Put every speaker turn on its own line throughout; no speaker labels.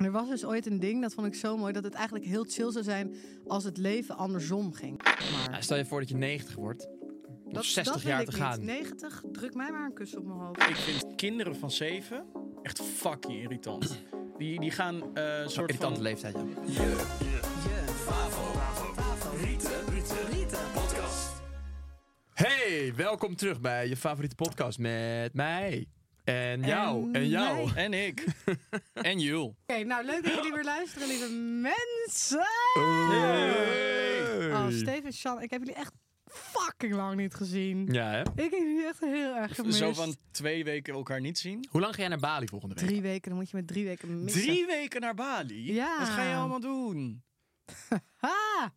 Er was dus ooit een ding, dat vond ik zo mooi, dat het eigenlijk heel chill zou zijn als het leven andersom ging. Maar
Nou, stel je voor dat je 90 wordt. Nog
dat,
60
dat wil
jaar
ik
te
niet.
gaan.
90, druk mij maar een kus op mijn hoofd.
Ik vind kinderen van 7 echt fucking irritant. Die, die gaan eh soort
Irritante
van...
leeftijd, ja. Hey, welkom terug bij je favoriete podcast met mij. En jou. En, jou.
mij.
En ik. en Jul.
Oké, nou leuk dat jullie weer luisteren, lieve mensen.
Hey.
Oh, Steven, Sjan, ik heb jullie echt fucking lang niet gezien.
Ja, hè?
Ik heb jullie echt heel erg gemist.
Zo van twee weken elkaar niet zien.
Hoe lang ga jij naar Bali volgende week?
Drie weken, dan moet je met drie weken missen.
Drie weken naar Bali?
Ja.
Wat ga je allemaal doen?
Ha!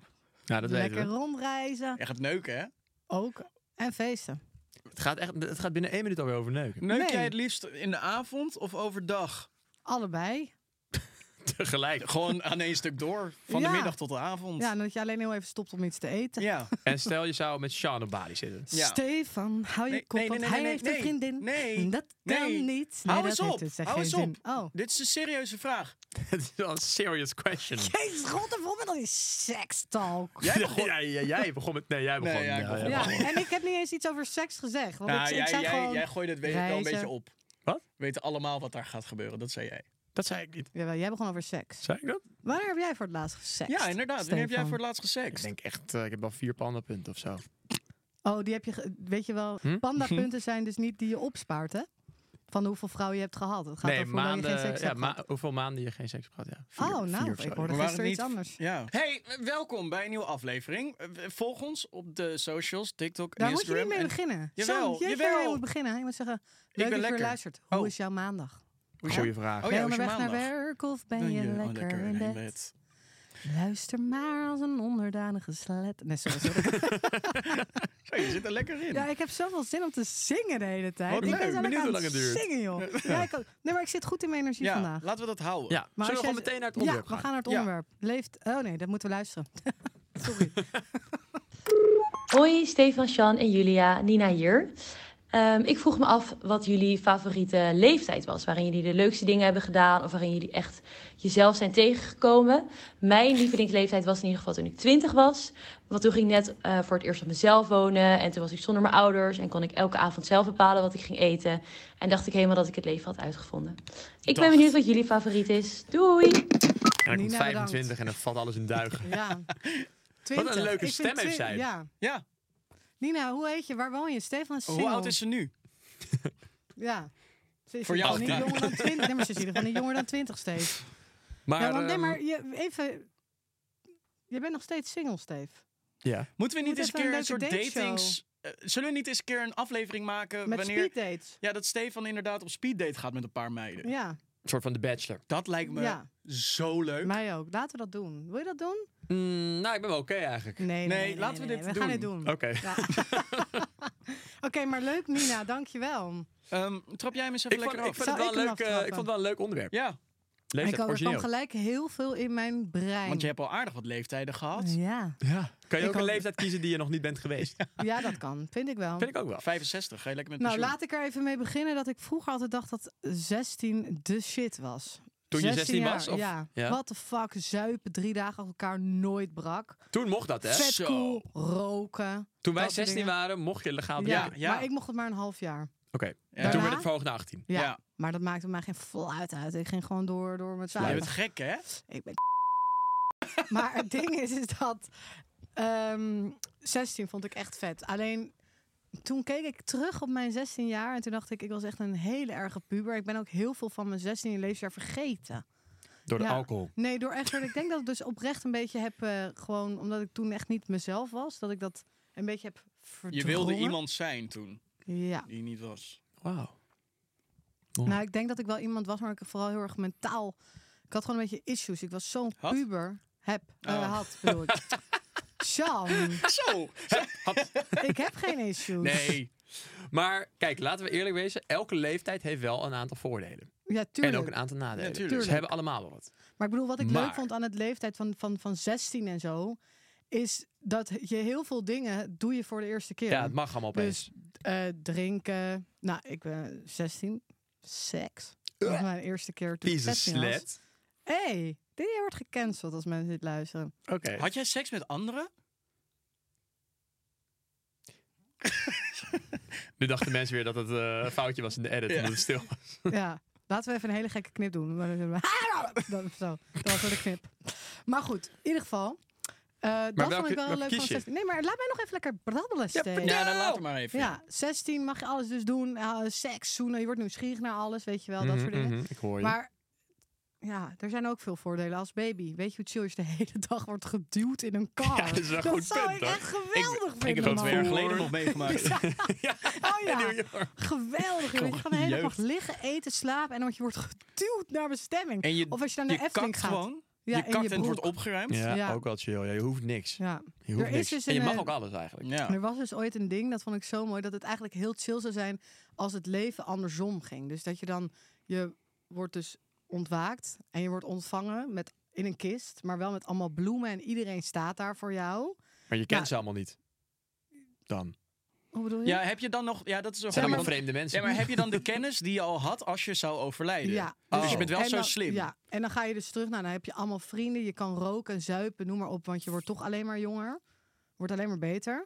Nou, dat
Lekker
weten we.
rondreizen.
Je gaat neuken, hè?
Ook. En feesten.
Het gaat, echt, het gaat binnen één minuut alweer over neuken.
Neuk
Nee.
jij het liefst in de avond of overdag?
Allebei.
Tegelijk.
Gewoon aan één stuk door. Van
Ja.
de middag tot de avond.
Ja, en dat je alleen heel even stopt om iets te eten.
ja.
En stel je zou met Sean op Bali zitten.
Ja.
Stefan, hou je
Nee,
kop,
nee,
want
nee,
hij
nee,
heeft
nee,
een vriendin.
nee,
dat kan
nee.
niet. Nee,
Hou
dat
eens
heeft
op,
dus echt
hou
geen
eens op.
zin. Oh.
Dit is een serieuze vraag.
Het is wel een serious question.
Jezus, god, en vol met al die sekstalk.
Jij begon...
Ja, ja, jij begon met... Nee, jij begon.
ja, ik begon.
Ja, en ik heb niet eens iets over seks gezegd. Want
Nou,
ik, ik
jij,
zei
jij,
gewoon...
jij gooit het weet ik wel een
reizen.
beetje op.
Wat?
We weten allemaal wat daar gaat gebeuren, dat zei jij.
Dat zei ik niet.
Jawel, jij begon over seks.
Zei ik dat?
Wanneer heb jij voor het laatst gesext?
Ja, inderdaad. Wanneer heb jij
Stefan?
voor het laatst gesext?
Ik denk echt, eh, ik heb al vier pandapunten of zo.
Oh, die heb je... ge- Weet je
Hm?
wel, pandapunten zijn dus niet die je opspaart, hè? Van hoeveel vrouwen je hebt gehad. Het gaat
nee,
over hoe lang je geen
maanden.
seks
Ja,
hebt gehad.
ma hoeveel maanden je geen seks hebt gehad? Ja, Vier-
Oh, nou,
vier of zo,
ik
ja.
hoorde
waren
gisteren
niet-
iets anders.
Ja. Hey, w- welkom bij een nieuwe aflevering. Eh, w- Volg ons op de socials, TikTok en
Daar moet je
Instagram.
niet mee
en-
beginnen.
Jawel,
Sam, jij
jawel.
je moet beginnen. Je moet zeggen,
ben
leuk dat je weer
lekker.
luistert. Hoe
Oh.
is jouw maandag?
Een Goeie vraag.
ben
Oh ja,
je
hoe is je
onderweg naar
maandag?
werk of ben,
Ben
je,
oh,
lekker, in
in
bed? Luister maar als een onderdanige slet. Nee, sorry, sorry.
Zo, je zit er lekker in.
ja, ik heb zoveel zin om te zingen de hele tijd.
Wat
ik
leuk,
ben zo lekker
benieuwd hoe
aan
lang
het
het duurt.
zingen, joh. Ja, ik, ook. nee, maar ik zit goed in mijn energie
Ja,
vandaag.
laten we dat houden.
Ja,
Maar
zullen we
als
gewoon
jij-
meteen naar het onderwerp
Ja, we
gaan?
gaan naar het
Ja.
onderwerp. Leeft... Oh nee, dat moeten we luisteren. sorry.
Hoi Stefan, Sjan en Julia, Nina hier. Ehm, ik vroeg me af wat jullie favoriete leeftijd was. Waarin jullie de leukste dingen hebben gedaan of waarin jullie echt jezelf zijn tegengekomen. Mijn lievelingsleeftijd was in ieder geval toen ik 20 was. Want toen ging ik net eh, voor het eerst op mezelf wonen. En toen was ik zonder mijn ouders en kon ik elke avond zelf bepalen wat ik ging eten. En dacht ik helemaal dat ik het leven had uitgevonden. Ik ben
Dacht.
benieuwd wat jullie favoriet is. Doei!
En dan komt
Nina,
25
bedankt.
en dan valt alles in duigen.
Ja.
Wat een
20.
leuke
Ik vind
stem heeft
twi-
zij.
Ja.
Ja,
Nina, hoe heet je? Waar woon je? Stefan is
hoe
single.
oud is ze nu?
Ja. Ze is
Voor
in ieder geval
jou
niet
ook.
jonger dan 20. Nee, maar ze is in ieder geval niet jonger dan 20 steeds.
Maar,
ja, want, nee,
ehm,
maar je, even... Je bent nog steeds single, Steef.
ja.
Moeten we niet
Moet
eens
even
een keer
een
een soort
leuke dateshow.
datings... eh, zullen we niet eens een keer een aflevering maken
Met
Eh, wanneer...
speeddates.
Ja, dat Stefan inderdaad op speeddate gaat met een paar meiden.
Ja,
Een soort van de bachelor.
Dat lijkt me
Ja.
zo leuk.
mij ook. Laten we dat doen. Wil je dat doen?
Mm, nou, ik ben wel oké eigenlijk.
Nee, nee,
Nee, laten we dit
We gaan
doen.
dit doen.
Oké.
Ja. Oké, maar leuk Nina. Dankjewel.
Ehm, trap jij hem eens even
Ik, vond,
lekker
ik,
af.
vond
Zou
het wel
ik
een
hem
leuk, eh, ik
aftrappen?
vond het wel een leuk onderwerp.
Ja,
Ik
Leeftijd
er kwam
origineel.
gelijk heel veel in mijn brein.
want je hebt al aardig wat leeftijden gehad.
Ja.
Ja. Kan je
Ik
ook een
ook.
leeftijd kiezen die je nog niet bent geweest?
ja, dat kan. Vind ik wel.
Vind ik ook wel.
65, ga je lekker met
Nou,
pensioen.
laat ik er even mee beginnen dat ik vroeger altijd dacht dat 16 de shit was.
Toen je 16
jaar,
was, of-
Ja.
Ja.
What the fuck, zuipen drie dagen achter elkaar, nooit brak.
Toen mocht dat, hè?
Vet cool, roken.
Toen wij
dat soort
16
dingen.
waren, mocht je legaal
Ja,
drinken.
ja.
maar ik mocht het maar een half jaar.
Ja.
En toen
Daarna?
werd het verhoogd naar 18.
Ja.
Ja.
Maar dat maakte mij geen fluit uit. Ik ging gewoon door, door met
Je
zuipen.
bent gek, hè?
Ik ben Maar het ding is, is dat ehm, 16 vond ik echt vet. Alleen toen keek ik terug op mijn 16 jaar en toen dacht ik, ik was echt een hele erge puber. Ik ben ook heel veel van mijn 16 levensjaar vergeten.
Door de
Ja.
alcohol.
Nee, door echt, ik denk dat ik dus oprecht een beetje heb, eh, gewoon omdat ik toen echt niet mezelf was, dat ik dat een beetje heb
Je
verdrongen.
wilde iemand zijn toen,
Ja.
die je niet was.
Wauw. Oh.
Nou, ik denk dat ik wel iemand was, maar ik vooral heel erg mentaal. Ik had gewoon een beetje issues. Ik was zo'n
Had?
puber. Heb. eh,
Oh.
had, bedoel ik. Sjaan,
Zo!
ik heb geen issues.
Nee. Maar kijk, laten we eerlijk wezen. Elke leeftijd heeft wel een aantal voordelen.
Ja, tuurlijk.
En ook een aantal nadelen. Dus
Natuurlijk.
Ze hebben allemaal wel wat.
Maar ik bedoel, wat ik leuk
Maar-
vond aan het leeftijd van, van, van 16 en zo... is dat je heel veel dingen doe je voor de eerste keer.
Ja, het mag allemaal opeens.
Dus eh, drinken. Nou, ik ben 16. Seks. Dat was mijn eerste keer toen ik
Piece of
16 was.
slet.
hey, dit wordt gecanceld als mensen dit luisteren.
Oké.
Had jij seks met anderen?
Nu dachten mensen weer dat het eh, een foutje was in de edit.
Ja.
Omdat het stil was.
Ja, laten we even een hele gekke knip doen. Maar dan zullen
Ah, nou.
we- Dat, zo, dat was wel de knip. Maar goed, in ieder geval. eh, dat
welke-
vond ik wel
welke
leuk
kies
van
je? nou,
16. Nee, maar laat mij nog even lekker brabbelen, Steve.
Ja, dan laat het maar even.
Ja, 16 mag je alles dus doen. eh, seks, zoenen, je wordt nieuwsgierig naar alles, weet je wel, dat soort dingen.
Mhm, Ik hoor je.
Maar ja, er zijn ook veel voordelen als baby. Weet je hoe chill je de hele dag wordt geduwd in een kar?
Ja, dat is wel een goed
zou
punt,
ik
hoor.
echt geweldig
ik
vinden.
heb dat
man.
twee
Jaar
Voor-
geleden nog meegemaakt.
Oh ja,
New York.
geweldig. joh. Dat Je gaat de hele dag
jeugd.
liggen, eten, slapen en want je wordt geduwd naar bestemming.
En je,
of als je naar
je
de Efteling
kakt
gaat.
gewoon.
Ja,
je
en
kakt en,
je
het wordt
broek.
opgeruimd.
Ja,
Ja.
ook wel chill. Ja, je hoeft niks.
Ja.
Je hoeft
Er is
niks.
dus
en je
een,
mag
eh,
ook alles eigenlijk.
Ja.
Er was dus ooit een ding, dat vond ik zo mooi, dat het eigenlijk heel chill zou zijn als het leven andersom ging. Dus dat je dan, je wordt dus ontwaakt en je wordt ontvangen met, in een kist, maar wel met allemaal bloemen en iedereen staat daar voor jou.
Maar je kent
Ja.
ze allemaal niet. Dan.
Hoe bedoel je?
Ja, heb je dan nog... Ja, dat is een
zijn
goeie,
allemaal
want-
vreemde mensen.
Ja, maar heb je dan de kennis die je al had als je zou overlijden? Dus
Oh.
je bent wel
Oh. En
zo
dan-
slim.
Ja, en dan ga je dus terug. Nou, dan heb je allemaal vrienden. Je kan roken en zuipen, noem maar op. Want je wordt toch alleen maar jonger. Wordt alleen maar beter.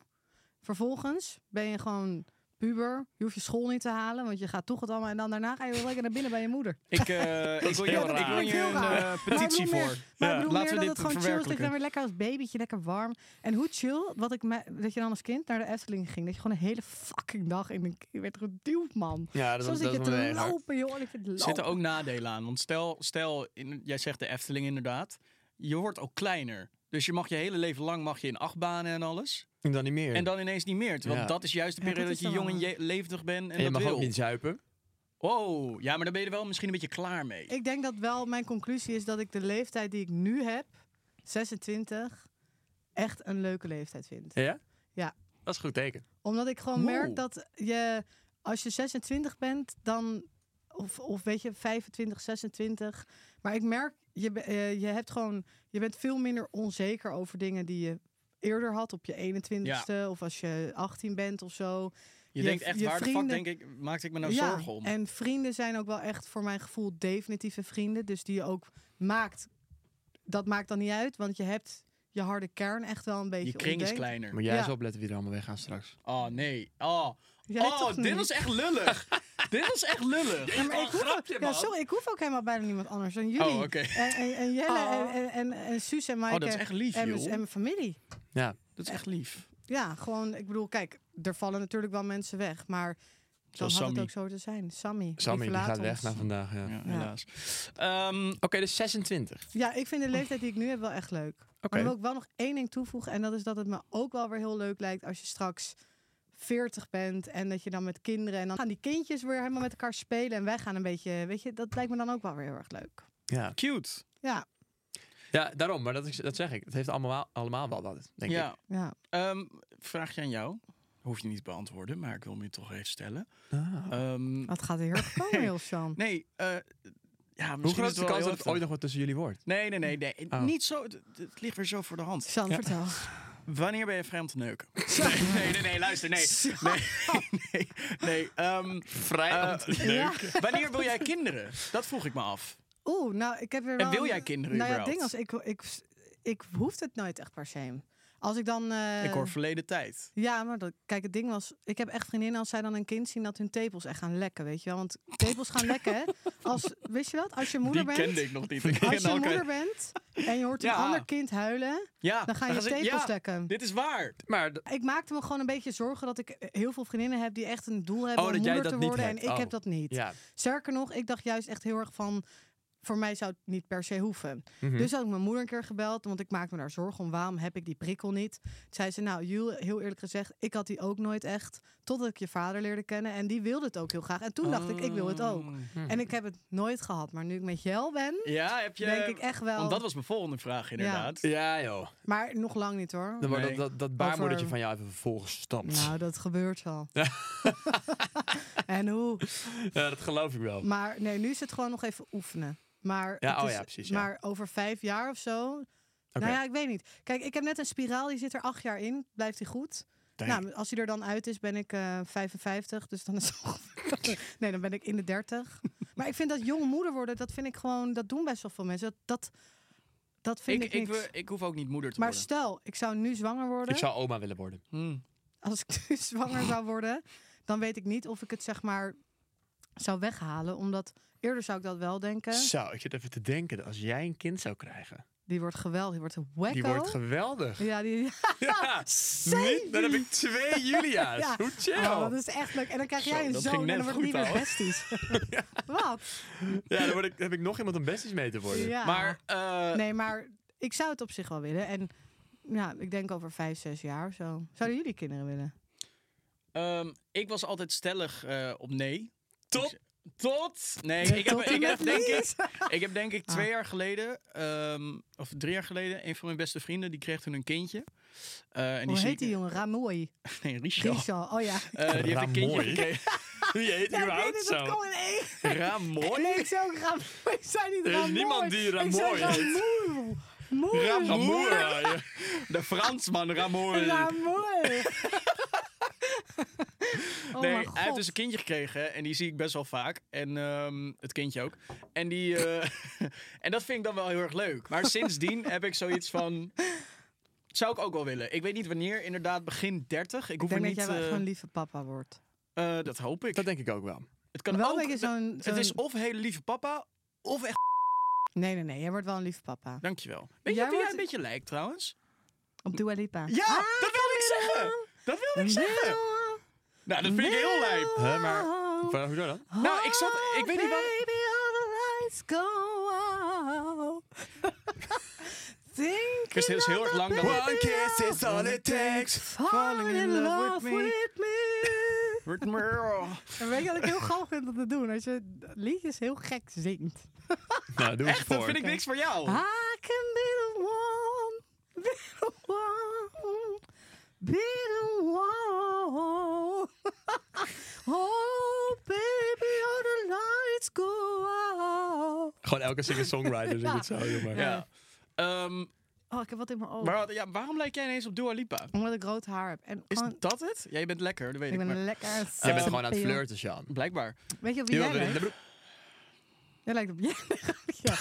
Vervolgens ben je gewoon puber. Je hoeft je school niet te halen, want je gaat toch het allemaal. En dan daarna ga je weer lekker naar binnen bij je moeder.
Ik, eh, ik wil je,
heel
ik wil
raar.
je
Heel
een
raar.
eh, petitie
maar ik bedoel
voor.
Meer, maar ik
Ja.
bedoel
Laten
meer
we
dat
dit
het gewoon chill is. Dat je dan
verwerkelijken.
weer lekker als babytje, lekker warm. En hoe chill wat ik me, dat je dan als kind naar de Efteling ging. Dat je gewoon een hele fucking dag in een je werd geduwd, man.
Ja, dat,
Soms
dat
zit je
wel
te
heel erg.
lopen, joh. En ik vind
Er
lopen.
zitten ook nadelen aan. Want stel, stel in, jij zegt de Efteling inderdaad. Je wordt ook kleiner. Dus je mag je hele leven lang mag je in achtbanen en alles.
En dan niet meer.
En dan ineens niet meer. Want
Ja.
dat is juist de
Ja,
periode
dat
dat,
is
je
dan
jong en
wel-
je- levendig bent. En,
En je
dat
mag
wil.
ook niet zuipen.
Oh, ja, maar dan ben je er wel misschien een beetje klaar mee.
Ik denk dat wel mijn conclusie is dat ik de leeftijd die ik nu heb, 26, echt een leuke leeftijd vind.
Ja?
Ja.
Dat is een goed teken.
Omdat ik gewoon
Wow.
merk dat je, als je 26 bent, dan, of, of weet je, 25, 26. Maar ik merk, je, be- eh, je, hebt gewoon, je bent veel minder onzeker over dingen die je eerder had op je 21ste of als je 18 bent of zo.
je,
je-
denkt echt,
je
waar de
vrienden-
fuck denk ik, maakte ik me nou zorgen om?
En vrienden zijn ook wel echt voor mijn gevoel definitieve vrienden. Dus die je ook maakt. Dat maakt dan niet uit, want je hebt je harde kern echt wel een beetje.
je kring is
ontdekt.
kleiner.
Maar jij
Ja.
is opletten wie er allemaal weggaan straks.
Oh, nee. Oh,
Jij
oh
toch
dit
niet?
was echt lullig. dit was echt lullig.
Ja, maar ik hoef, ook- ja, sorry, ik hoef ook helemaal bijna niemand anders dan jullie.
Oh, oké.
en, en, en Jelle en, en, en, en Suus en Maaike.
Oh, dat is echt lief,
en,
joh.
en mijn familie.
Ja.
Dat is echt lief.
Ja, gewoon, ik bedoel, kijk, er vallen natuurlijk wel mensen weg, maar dan
Zoals
had het
Sammy.
ook zo te zijn. Sammy, die
Sammy, die
verlaat
gaat weg
ons.
na vandaag. Ja.
Ja,
Oké,
helaas. Ehm,
dus 26.
Ja, ik vind de leeftijd die ik nu heb wel echt leuk.
Oké.
Maar dan wil ik wel nog één ding toevoegen. En dat is dat het me ook wel weer heel leuk lijkt als je straks 40 bent. En dat je dan met kinderen. En dan gaan die kindjes weer helemaal met elkaar spelen. En wij gaan een beetje. Weet je, dat lijkt me dan ook wel weer heel erg leuk.
Ja.
cute.
Ja,
ja, daarom. Maar dat, is- dat zeg ik. Het heeft allemaal, allemaal wel wat, denk ik.
Ja.
ja.
Ehm, vraagje aan jou. Hoef je niet te beantwoorden, maar ik wil hem je toch even stellen.
Ah.
Ehm,
Wat gaat er heel erg komen, heel Sjan?
nee, eh, ja, misschien
Hoe groot is
het
de
wel
kans
heel
dat het ooit nog wat tussen jullie wordt?
Nee, nee, nee, nee.
Oh.
Niet zo. Het, het ligt weer zo voor de hand.
Sjan, vertel.
Wanneer ben je vrij om te neuken? Nee, nee, nee, nee, luister, nee. Nee, nee, nee. ehm, eh, Wanneer wil jij kinderen? Dat vroeg ik me af.
Oeh, nou, ik heb weer.
En
wel
wil
een-
jij kinderen
Nou ja,
überhaupt?
ding als ik, ik, ik hoefde het nooit echt per se. Als ik dan... eh,
Ik hoor verleden tijd.
Ja, maar dat, kijk, het ding was... Ik heb echt vriendinnen als zij dan een kind zien... dat hun tepels echt gaan lekken, weet je wel. Want tepels gaan lekken, hè. Als, wist je dat? Als je moeder
Die
bent...
kende ik nog niet. Ik
Als
ken
je
elke-
moeder bent en je hoort een
Ja.
ander kind huilen...
ja,
dan gaan je
ze-
tepels
ja,
lekken.
Dit is waar.
Maar d-
Ik maakte me gewoon een beetje zorgen dat ik heel veel vriendinnen heb... die echt een doel hebben
Oh,
om
dat jij
moeder
dat
te
niet
worden. En
hebt.
ik
Oh.
heb dat niet.
ja,
Sterker nog, ik dacht juist echt heel erg van... voor mij zou het niet per se hoeven.
Mhm.
Dus had ik mijn moeder een keer gebeld, want ik maakte me daar zorgen om. Waarom heb ik die prikkel niet? Toen zei ze, nou Jul, heel eerlijk gezegd, ik had die ook nooit echt. Totdat ik je vader leerde kennen en die wilde het ook heel graag. En toen dacht ik, ik wil het ook. En ik heb het nooit gehad. Maar nu ik met Jel ben,
Mhm. Ja, heb je...
denk ik echt wel...
Want dat was mijn volgende vraag, inderdaad.
ja joh.
Maar nog lang niet hoor.
Dan wordt
Nee.
dat, dat, dat baarmoedertje
Over-
van jou even volgestampt.
Nou, dat gebeurt wel. en hoe?
Ja, dat geloof ik wel.
Maar nee, nu is het gewoon nog even oefenen. Maar,
Ja,
het
oh
is-
ja, precies, ja.
maar over vijf jaar of zo. Nou ja, ik weet niet. Kijk, ik heb net een spiraal, die zit er acht jaar in. Blijft die goed? Nou, als die er dan uit is, ben ik eh 55. Dus dan is het ongeveer- Nee, dan ben ik in de 30. maar ik vind dat jong moeder worden, dat vind ik gewoon, dat doen best wel veel mensen. Dat, dat, dat vind ik,
ik, ik,
niks.
wil- ik hoef ook niet moeder te
maar
worden.
stel, ik zou nu zwanger worden.
Ik zou oma willen worden.
Als ik nu zwanger zou worden, dan weet ik niet of ik het zeg maar zou weghalen. Omdat eerder zou ik dat wel denken.
Zo, ik zit even te denken. Als jij een kind zou krijgen.
Die wordt geweldig. Die wordt een wacko.
Die wordt geweldig.
Ja, die...
Ja, min- dan heb ik twee Julia's.
Ja.
Hoe chill.
Oh, dat is echt leuk. En dan krijg jij
Zo,
een
dat
zoon
ging
en dan
net
worden die
goed,
weer
ouwe.
besties. Wat?
Ja, dan word ik, heb ik nog iemand om besties mee te worden.
Ja.
Maar, eh,
Nee, maar ik zou het op zich wel willen. En ja, ik denk over vijf, zes jaar of zo. Zouden jullie kinderen willen?
ehm, ik was altijd stellig eh, op nee.
Tot-
Tot? Nee, ik heb,
tot en
ik,
met
heb
Ah.
denk ik,
niet.
ik heb denk ik twee jaar geleden, ehm, of drie jaar geleden, een van mijn beste vrienden, die kreeg toen een kindje. Eh, en
Hoe
zie
heet
ik-
die jongen? Ramoy.
Nee, Richard.
Rizal. Oh ja.
Eh, die heeft een kindje
Ramoy.
gekregen.
Die heet
Ja, ik weet
überhaupt
het,
zo.
dat kan in één.
Ramoy?
Nee, ik zei ook Ramoy. Ik zei niet
Er is
Ramoy.
niemand die
Ik
Ramoy
zei
heet.
Ramoy. Mooi.
Ramoer. Ja, ja.
De Fransman Ramoy.
Ramoy. Oh
nee,
mijn
hij heeft
God.
dus een kindje gekregen en die zie ik best wel vaak. En ehm, het kindje ook. En, die, eh, en dat vind ik dan wel heel erg leuk. Maar sindsdien heb ik zoiets van. Zou ik ook wel willen. Ik weet niet wanneer, inderdaad, begin 30. Ik hoef
Ik denk
er
dat
niet.
jij wel
eh,
echt een lieve papa wordt.
eh, dat hoop ik.
Dat denk ik ook wel.
het kan
Wel
ook.
een beetje zo'n-
Het is
zo'n-
of hele lieve papa, of echt.
Nee, nee, nee. Jij wordt wel een lieve papa.
Dankjewel.
Jij
Weet je wie jij
wordt-
een beetje lijkt trouwens?
Op Dua Lipa. Ah,
Ja, dat wilde ik zeggen. Dat wilde ik zeggen. Nou, dat vind ik heel lijp.
Hè, maar hoezo dan?
Nou, ik zat. Ik weet niet wat.
Baby, all the lights go out. Thinking
Chris, het is heel erg
about
lang dat-
baby,
One kiss is all it takes.
Falling in love with me. En weet je wat ik heel grappig vind om te doen? Als je liedjes heel gek zingt.
Nou, doe eens
Echt, dat
voor.
vind ik niks voor jou.
I can be the one, be the one, be the one. oh, baby, all the lights go out.
Gewoon elke singer-songwriter zingt het zo. joh, maar.
Ja. Ehm,
Oh, ik heb wat in mijn ogen.
maar wat- ja, waarom lijk jij ineens op Dua Lipa?
Omdat ik rood haar heb. En
Is
gewoon,
dat het? Jij bent lekker, dat weet
ik
ik.
ben
maar-
een lekker...
Jij bent gewoon aan het flirten, Sjaan.
Blijkbaar.
Weet je op wie jij lijkt? Jij lijkt op jij. ja.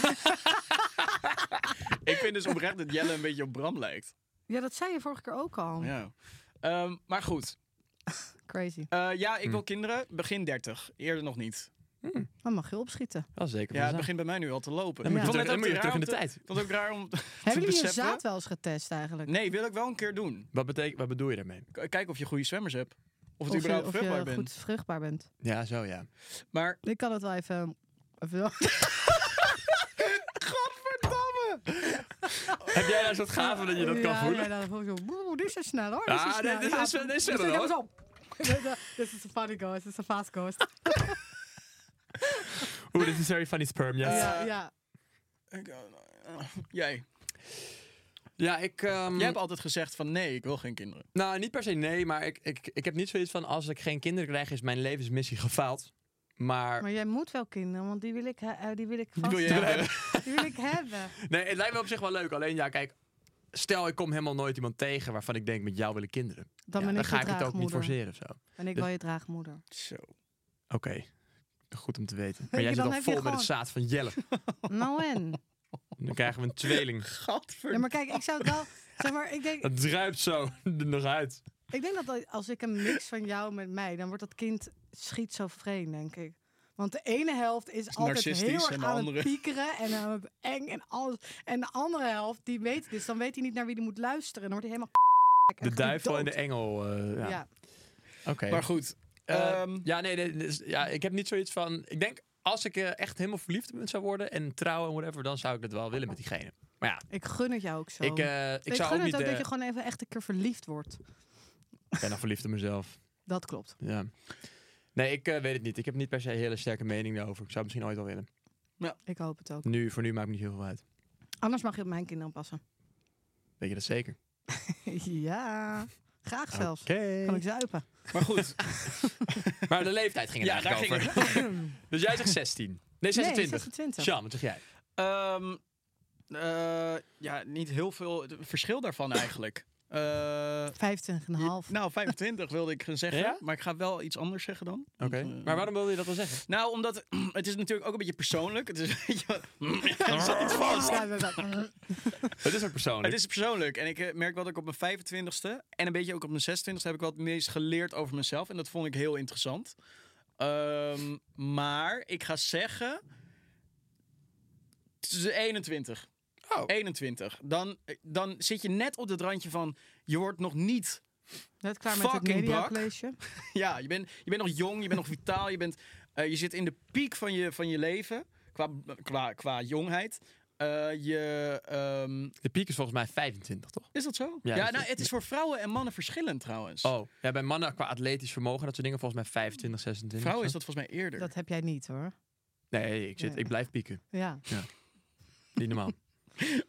Ik vind dus oprecht dat Jelle een beetje op Bram lijkt.
ja, dat zei je vorige keer ook al.
Ja. Ehm, maar goed.
Crazy.
Eh, ja, ik wil kinderen. Begin 30. Eerder nog niet.
Dan mag je opschieten.
Dat is zeker. waar
Ja, het
zijn.
begint bij mij nu al te lopen.
Dan moet je
Ik vond
terug-
het
dan moet je
ook
terug in de
raar om te-
tijd.
Ik vond het ook raar om te
Hebben jullie je
beseffen.
zaad wel eens getest eigenlijk?
Nee, wil ik wel een keer doen.
Wat, betek- wat bedoel je daarmee?
K- Kijk of je goede zwemmers hebt. Of
Of
het
je,
überhaupt
of
vruchtbaar
je
bent.
goed vruchtbaar bent.
Ja, zo ja.
Maar
Ik kan het wel even... even
Godverdamme!
Heb jij nou zo'n gave dat je dat kan
ja,
voelen?
Ja, dan voel ik zo... "Boe, Dit is zo snel hoor.
Ah,
dit is zo snel.
dit- dit
Ja,
is- dit is
dus
wel,
ik heb
hoor.
zo... This is a funny ghost. This is a fast ghost.
Oeh, dit is very funny sperm, yes.
Ja,
Ja,
ja.
Ik, eh, eh, Jij.
ik... ehm,
Jij hebt altijd gezegd van nee, ik wil geen kinderen.
Nou, niet per se nee, maar ik, ik, ik heb niet zoiets van... als ik geen kinderen krijg, is mijn levensmissie gefaald. Maar...
Maar jij moet wel kinderen, want die wil ik, he- eh, die wil ik vast
wil je hebben.
Die wil ik hebben.
Nee, het lijkt me op zich wel leuk. Alleen, ja, kijk... Stel, ik kom helemaal nooit iemand tegen waarvan ik denk... met jou willen kinderen.
Dan
Ja,
ben
dan
ik
ga
je
ik het ook niet
draagmoeder.
forceren of zo. Oké.
En ik wil je draagmoeder.
Zo.
Goed om te weten.
Weet
Maar jij
je,
zit
dan
al vol
heb je
met het
gewoon-
zaad van Jelle.
Nou en?
Dan krijgen we een tweeling.
Ja, maar kijk, ik zou het wel... Zeg maar, ik denk,
Het druipt zo er nog uit.
ik denk dat als ik een mix van jou met mij, dan wordt dat kind schizofreen, denk ik. Want de ene helft is, altijd heel
narcistisch
erg
en de
aan
andere-
het piekeren en aan het eng en alles. En de andere helft, die weet het dus, dan weet hij niet naar wie hij moet luisteren. Dan wordt hij helemaal en
De duivel en de
gedood.
engel. eh, ja.
Ja.
Oké.
Maar goed.
Eh,
ehm,
ja, nee, nee, dus- ja, ik heb niet zoiets van. Ik denk, als ik eh, echt helemaal verliefd op iemand zou worden en trouwen en whatever, dan zou ik dat wel willen met diegene. Maar ja,
Ik gun het jou ook zo.
ik, eh, ik,
Ik
zou
gun
ook niet.
het ook
eh,
dat je gewoon even echt een keer verliefd wordt.
Ik ben al verliefd op mezelf.
Dat klopt.
Ja. Nee, ik eh, weet het niet. Ik heb niet per se een hele sterke mening daarover. Ik zou het misschien ooit wel willen.
Ik hoop het ook.
Nu, voor nu maakt het niet heel veel uit.
Anders mag je op mijn kinderen passen.
Weet je dat zeker?
ja, graag zelfs.
Oké.
Kan ik zuipen?
maar goed.
Maar de leeftijd ging het
Ja,
eigenlijk
daar
over. dus jij zegt 16. Nee, 26.
Nee, 26.
Sjaan, wat zeg jij?
Ehm, eh, ja, niet heel veel het verschil daarvan eigenlijk. Eh,
25,5.
nou, 25 wilde ik gaan zeggen,
Ja?
maar ik ga wel iets anders zeggen dan.
Oké.
eh,
Maar waarom wilde je dat wel zeggen?
Nou, omdat het is natuurlijk ook een beetje persoonlijk. Het is, weet je wat,
Ja, we- we-
Het is ook persoonlijk.
het is persoonlijk. En ik eh, merk wel dat ik op mijn 25ste en een beetje ook op mijn 26ste heb ik wel het meest geleerd over mezelf. En dat vond ik heel interessant. Ehm, maar ik ga zeggen. het is 21.
Oh.
21. Dan, eh, dan zit je net op het randje van. Je wordt nog niet
Net klaar met het
Fucking brak.
mediacollege.
Ja, je bent, je bent nog jong, je bent nog vitaal, je, bent, eh, je zit in de piek van je, van je leven qua, eh, qua, qua jongheid. Eh, je, ehm,
De piek is volgens mij 25, toch?
is dat zo?
Ja,
Ja,
dat
nou,
is-
het is voor vrouwen en mannen verschillend trouwens.
Oh, ja, bij mannen qua atletisch vermogen en dat soort dingen volgens mij 25, 26.
Vrouwen is
of
dat volgens mij eerder.
Dat heb jij niet hoor.
zo. Nee, ik, zit,
Nee.
ik blijf pieken.
Ja.
Niet normaal.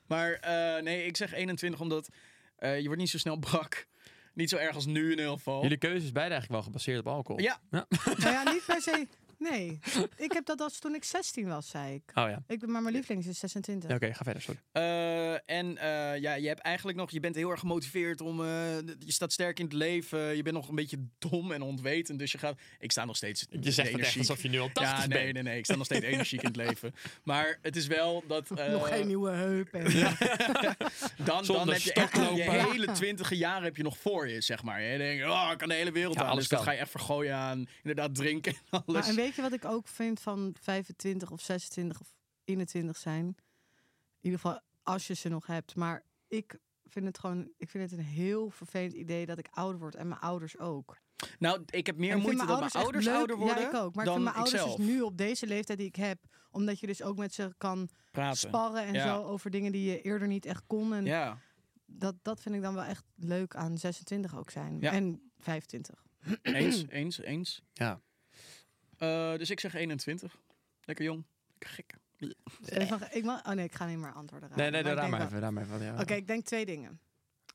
Maar eh, nee, ik zeg 21 omdat eh, je wordt niet zo snel brak. Niet zo erg als nu in ieder geval.
Jullie keuze is beide eigenlijk wel gebaseerd op alcohol. Oh
Ja.
Nou ja, niet per se. Nee. Ik heb dat als toen ik 16 was, zei ik.
Oh ja.
ik ben, maar mijn lievelings is 26.
Oké, ga verder, sorry.
Eh, en eh, ja, je hebt eigenlijk nog, je bent heel erg gemotiveerd om, eh, je staat sterk in het leven, je bent nog een beetje dom en ontwetend, dus je gaat, ik sta nog steeds
Je zegt het echt
energiek.
alsof je nu al 80
Ja, nee, nee, nee. Ik sta nog steeds energiek in het leven. Maar het is wel dat... eh,
Nog geen nieuwe heup. En,
Dan, dan
Zonder
heb je echt
stoklopen.
je hele twintige jaren heb je nog voor je, zeg maar. Je denkt, oh, ik kan de hele wereld
Ja,
aan.
alles
Dus dat
kan.
ga je echt vergooien aan inderdaad drinken en
maar,
alles.
en weet je wat ik ook vind van 25 of 26 of 21 zijn? In ieder geval als je ze nog hebt. Maar ik vind het gewoon, ik vind het een heel vervelend idee dat ik ouder word. En mijn ouders ook.
nou, ik heb meer
En ik
moeite
vind
dat mijn
echt
ouders
leuk.
ouder worden
Ja, ik ook. Maar ik
dan
vind mijn ouders
ikzelf.
dus nu op deze leeftijd die ik heb, omdat je dus ook met ze kan
praten.
sparren en
Ja.
zo over dingen die je eerder niet echt kon. En
Ja.
dat, dat vind ik dan wel echt leuk aan 26 ook zijn.
Ja.
En 25.
Eens, eens, eens.
Ja.
Eh, dus ik zeg 21. Lekker jong. Lekker gek.
Stefan, ik mag, oh nee, ik ga niet meer antwoorden.
Nee,
raden,
nee,
maar ik denk
daar maar
wel-
even. Raar maar even ja.
Oké, ik denk twee dingen.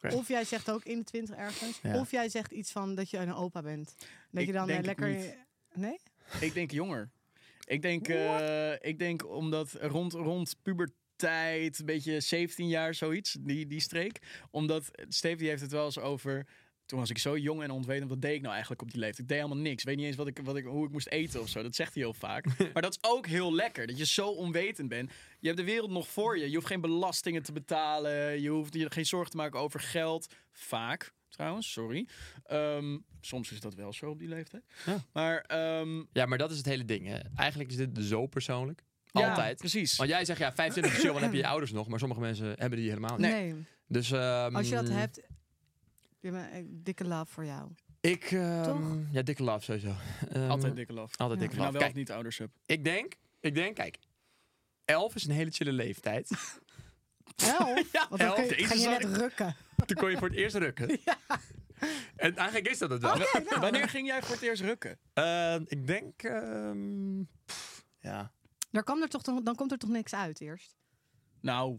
Oké.
Of jij zegt ook 21 ergens.
Ja.
Of jij zegt iets van dat je een opa bent. Dat
Ik
je dan eh,
denk het
lekker.
niet.
Nee?
Ik denk jonger. Ik denk, eh, ik denk omdat rond, rond puberteit, een beetje 17 jaar, zoiets, die, die streek. Omdat Steve die heeft het wel eens over. Toen was ik zo jong en ontwetend. Wat deed ik nou eigenlijk op die leeftijd? Ik deed helemaal niks. Ik weet niet eens wat ik, wat ik, hoe ik moest eten of zo. Dat zegt hij heel vaak. Maar dat is ook heel lekker. Dat je zo onwetend bent. Je hebt de wereld nog voor je. Je hoeft geen belastingen te betalen. Je hoeft je geen zorgen te maken over geld. Vaak, trouwens. Sorry. Ehm, soms is dat wel zo op die leeftijd.
Ja.
Maar ehm,
Ja, maar dat is het hele ding. Hè. Eigenlijk is dit zo persoonlijk.
ja,
Altijd.
precies.
Want jij zegt ja, 25 chill, dan heb je je ouders nog, maar sommige mensen hebben die helemaal niet.
nee.
Dus, ehm,
Als je dat hebt. Je bent een dikke love voor jou.
Ik, ehm,
Toch?
ja, dikke love sowieso. Ehm,
Altijd dikke laf.
Altijd
Ja.
dikke love.
Nou wel of
Oh, Kijk,
niet ouders heb.
ik denk, ik denk, kijk, 11 is een hele chille leeftijd.
Elf?
Ja,
Want dan
elf.
kun je-
Deze
ga je net
zat ik.
rukken.
Toen kon je voor het eerst rukken. En eigenlijk is dat het wel.
nou.
Wanneer ging jij voor het eerst rukken?
Ehm, ik denk, ehm, pff, ja.
Daar kwam er toch, dan komt er toch niks uit eerst.
Nou,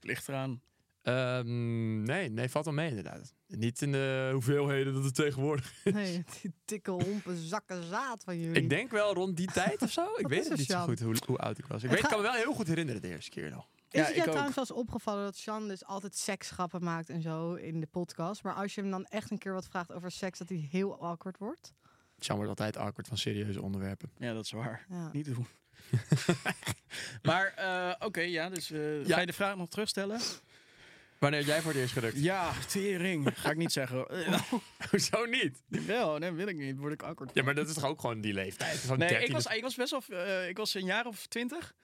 ligt eraan.
Ehm, nee, nee, valt wel mee inderdaad. Niet in de hoeveelheden dat het tegenwoordig is.
Nee, die dikke hompen zakken zaad van jullie.
Hmm.
Ik denk wel rond die tijd of zo. Ik
Wat
weet
is
het
dus
er,
niet zo
Sjan?
goed hoe, hoe oud ik was. Ik,
Het
weet, ik
gaat-
kan me wel heel goed herinneren de eerste keer nog.
Is
Ja,
het
ik
jou trouwens
ook.
wel eens opgevallen dat Sean dus altijd seksgrappen maakt en zo in de podcast? Maar als je hem dan echt een keer wat vraagt over seks, dat hij heel awkward wordt?
Sjan wordt altijd awkward van serieuze onderwerpen.
Ja, dat is waar.
Ja.
Niet doen. maar eh, oké, ja, dus eh,
Ja.
ga je de vraag nog terugstellen?
Wanneer jij voor het eerst gedrukt?
Ja, tering. Ga ik niet zeggen. Eh,
Zo niet.
Wel, nee, wil ik niet. Word ik awkward.
Ja, maar dat is toch ook gewoon die leeftijd? Van
Nee,
13
ik was,
of-
ik was best wel... eh, ik was een jaar of twintig.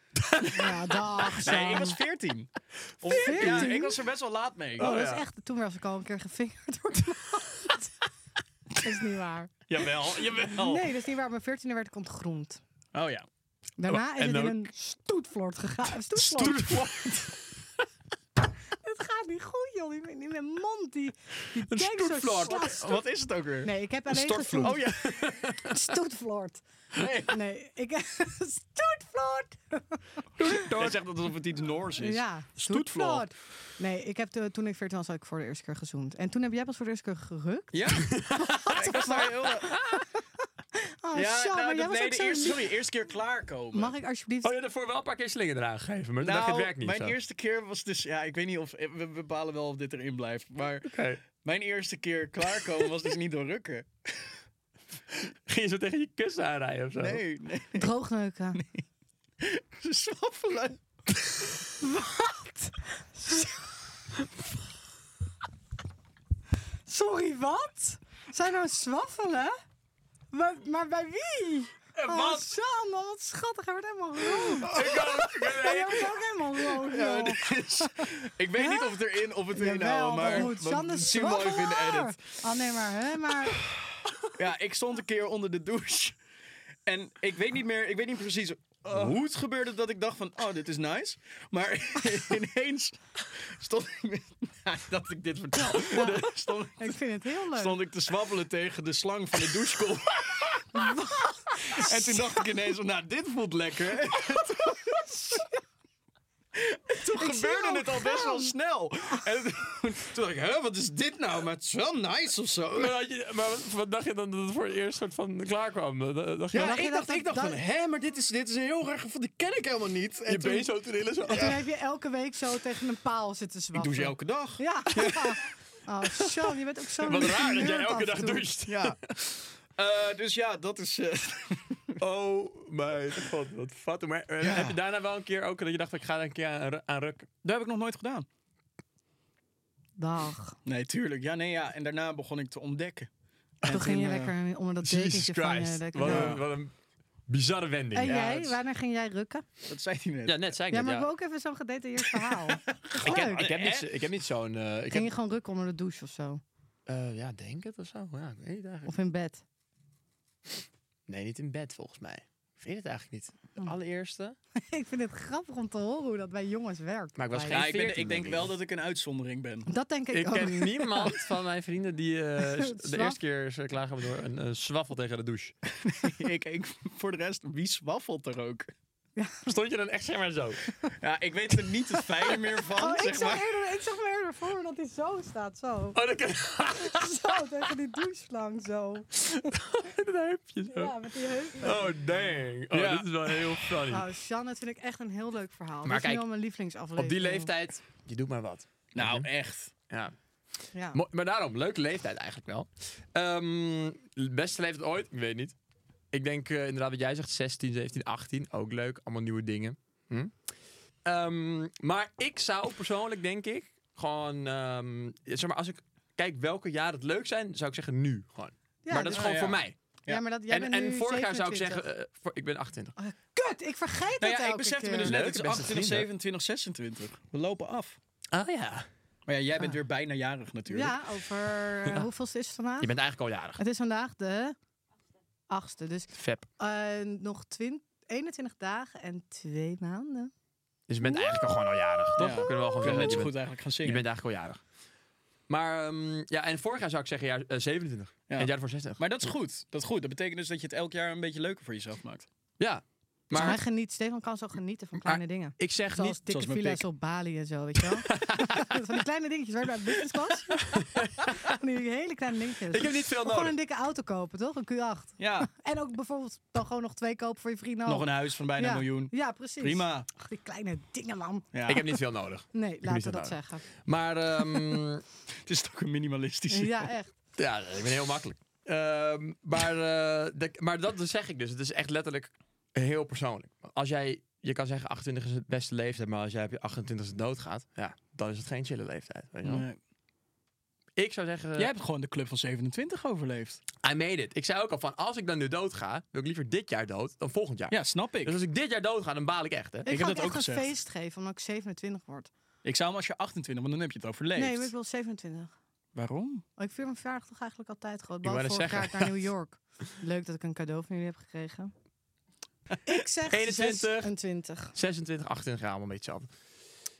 Ja, dag
Nee,
Sean.
ik was veertien. Of, ja,
14?
ik was er best wel laat mee.
Oh, dat is
ja.
echt... Toen was ik al een keer gevingerd door iemand. Dat is niet waar.
Jawel, jawel.
Nee, dat is niet waar. Op mijn veertiende werd ik ontgroend.
Oh ja.
Daarna is
en
het in
ook-
een stoetflort gegaan. Stoetflort. Het gaat niet goed, joh. Die, die- mijn mond, die, die
Een
denkt zo
stoetflort.
sla-
Wat is het ook weer?
Nee, ik heb alleen gestoet.
Oh ja.
Stoetflort.
Nee.
Nee, ik heb... Stoetflort!
Jij zegt alsof het iets Noors is.
Ja,
Stoetflort.
Nee, ik heb to- toen ik 14 was, had ik voor de eerste keer gezoend. En toen heb jij pas voor de eerste keer gerukt.
Ja? ik was daar heel... eh,
Oh, Sjan,
nou,
maar jij
dat-
was
nee,
ook
de
zo
eerste,
lief.
sorry, eerste keer klaarkomen. Nou,
Mag ik alsjeblieft...
Oh, je hebt ervoor wel een paar keer slinger eraan gegeven, maar toen dacht je Nou, het werkt niet.
mijn
zo.
eerste keer was dus... Ja, ik weet niet of... We we bepalen wel of dit erin blijft. Maar
Oké.
mijn eerste keer klaarkomen was dus niet door rukken.
Ging je zo tegen je kussen aanrijden of zo?
Nee, nee.
Droogneuken.
Ze swaffelen.
Sorry, wat? Zijn nou zwaffelen? Maar, maar bij wie? Oh,
Eh, wat? Oh,
Sjan, man, wat schattig. Hij wordt helemaal rood.
Ik ook. Ik ben-
Hij wordt ook helemaal rood, joh.
Ik weet niet of het erin of het erin
Jawel,
houden, maar...
goed.
want
Sjan
het
is
zien we wel even in de edit.
zwaffelaar. Oh, nee, maar... Hè, maar
Ja, ik stond een keer onder de douche. En ik weet niet meer, ik weet niet precies eh, hoe het gebeurde dat ik dacht van, oh, dit is nice. Maar ineens stond ik, met- Ja, dat ik dit vertel, stond,
ik vind het heel leuk.
stond ik te zwabbelen tegen de slang van de douchekom. En toen dacht ik ineens, van, nou, dit voelt lekker. En toen toen gebeurde
jou
het al best wel
gaan.
snel. En toen, toen dacht ik, hè, wat is dit nou? Maar het is wel nice of zo.
Maar, had je, maar wat, wat dacht je dan dat het voor het eerst soort van klaar kwam? Da- da- Dacht je,
Ja,
dacht
ik
je
dacht,
dat-
ik dacht
dat-
van, hè, maar dit is, dit is een heel raar gevoel, die ken ik helemaal niet. En
je
toen-
been zo te rillen? Zo.
En toen heb je elke week zo tegen een paal zitten
Ik
zwaffelen.
doe ze elke dag.
Ja. Oh, Sjan, je bent ook zo
Wat raar dat jij
nerd af
elke
en
dag
toe.
doucht.
Ja. Eh, dus ja, dat is... eh,
Oh mijn god, wat fat. Maar eh,
Ja.
heb je daarna wel een keer ook dat je dacht, ik ga daar een keer aan, ru- aan rukken?
dat heb ik nog nooit gedaan.
Dag.
Nee, tuurlijk. Ja, nee, ja. En daarna begon ik te ontdekken. En
Toen ging je
eh,
lekker onder dat
Jesus
dekentje van je.
Christ.
lekker-
Wat,
Ja.
een, wat een bizarre wending.
En
Ja.
jij,
het is-
wanneer ging jij rukken?
Dat zei hij net.
Ja, net zei ik
Ja,
dat,
maar
ja.
we hebben ook even zo'n gedetailleerd verhaal.
Ik heb,
Leuk.
ik heb niet, zo- ik heb niet zo'n... eh, ik
Ging
heb,
je gewoon rukken onder de douche of zo?
eh, ja, denk het of zo. Ja, ik weet het eigenlijk.
Of in bed?
Nee, niet in bed volgens mij. Ik weet het eigenlijk niet.
Oh.
De allereerste.
ik vind het grappig om te horen hoe dat bij jongens werkt.
Maar ik was
Bij-
geen-
Ja, ik, ben,
14
ik denk
denk ik.
wel dat ik een uitzondering ben.
Dat denk ik,
Ik
ook.
ken niemand van mijn vrienden die eh, s- de
Zwaffel.
eerste keer ze klagen we door een, een zwaffel tegen de douche.
ik, ik, voor de rest, wie zwaffelt er ook?
Stond je dan echt zeg maar zo?
Ja, ik weet er niet het fijne meer van,
Oh, ik
zeg
zag,
maar.
eerder, ik zag me eerder voor me dat hij zo staat, zo.
Oh, dat kan...
Zo, tegen die doucheslang, zo.
dat heb je zo.
Ja, met die heupen.
Oh, dang. Oh,
Ja.
dit is wel heel funny.
Oh, Sjan, dat vind ik echt een heel leuk verhaal.
Maar
dat is nu
kijk,
al mijn lievelingsaflevering.
Op die leeftijd, je doet maar wat.
Nou, echt.
Ja.
Ja.
Mo- maar daarom, leuke leeftijd eigenlijk wel. Ehm, beste leeftijd ooit? Ik weet niet. Ik denk eh, inderdaad wat jij zegt, 16, 17, 18. Ook leuk, allemaal nieuwe dingen. Hm? Ehm, maar ik zou persoonlijk, denk ik, gewoon... ehm, zeg maar, als ik kijk welke jaren het leuk zijn, zou ik zeggen nu gewoon.
Ja,
maar dat is
dus-
gewoon
Oh,
voor
ja.
mij.
Ja, maar dat, jij
En,
bent
en
nu
vorig jaar zou ik eh,
27.
zeggen, eh, voor- ik ben 28.
Ah, Kut, ik vergeet
Nou
het
ja, ik
elke
besefte me
keer.
dus net,
Leuk,
het is
beste
28,
vrienden.
27, 26. We lopen af.
Ah ja.
Maar ja, jij bent weer bijna jarig natuurlijk.
Ja, over eh, hoeveelste is het vandaag?
Je bent eigenlijk al jarig.
Het is vandaag de achtste. Dus
Fab.
eh, nog 20 21 dagen en twee maanden.
Dus je bent eigenlijk al gewoon al jarig, toch?
Ja.
Kunnen we wel gewoon
Ik ben
zeggen
net
dat je
zo
bent-
goed eigenlijk gaan
Je
zingen.
bent eigenlijk al jarig. Maar ehm, ja, en vorig jaar zou ik zeggen jaar, eh, 27. En het jaar voor 60.
Maar dat is goed. Dat is goed. Dat betekent dus dat je het elk jaar een beetje leuker voor jezelf maakt.
ja.
Maar hij
Maar
geniet, Stefan kan zo genieten van kleine dingen.
Ik zeg
Zoals
niet...
dikke
zoals mijn
villa's
pik.
op Bali en zo, weet je wel. van die kleine dingetjes waar je bij business was. van die hele kleine dingetjes.
ik heb niet
Of
veel
gewoon
nodig.
een dikke auto kopen, toch? Een Q8.
Ja,
En ook bijvoorbeeld dan gewoon nog twee kopen voor je vrienden.
nog
ook.
een huis van bijna
ja.
een miljoen.
Ja, precies.
Prima.
Ach, die kleine dingen, man.
Ja.
Ik heb niet veel nodig.
Nee,
niet
laten
zo
we dat
nou.
nodig.
zeggen.
Maar ehm,
Het is toch een minimalistische...
Ja, echt.
ja, ik ben heel makkelijk. Ehm, maar, eh, de- maar dat zeg ik dus. Het is echt letterlijk heel persoonlijk. Als jij, je kan zeggen 28 is het beste leeftijd, maar als jij op je 28 doodgaat, ja, dan is het geen chille leeftijd. Weet je wel?
Nee.
Ik zou zeggen,
Jij hebt gewoon de club van 27 overleefd.
I made it. Ik zei ook al van, als ik dan nu doodga, wil ik liever dit jaar dood dan volgend jaar.
Ja, snap ik.
Dus als ik dit jaar doodga, dan baal ik echt, hè?
Ik,
heb
ga
dat
ook
ook
echt een
gezegd.
feest geven omdat ik 27 word.
Ik zou hem als je 28, want dan heb je het overleefd.
Nee, maar ik wil 27.
Waarom?
Oh, ik vier mijn verjaardag toch eigenlijk altijd groot.
wou
Behalve
net
vorig jaar
zeggen.
naar New York. Leuk dat ik een cadeau van jullie heb gekregen. Ik zeg
21.
26.
26, 28 jaar, allemaal een beetje hetzelfde.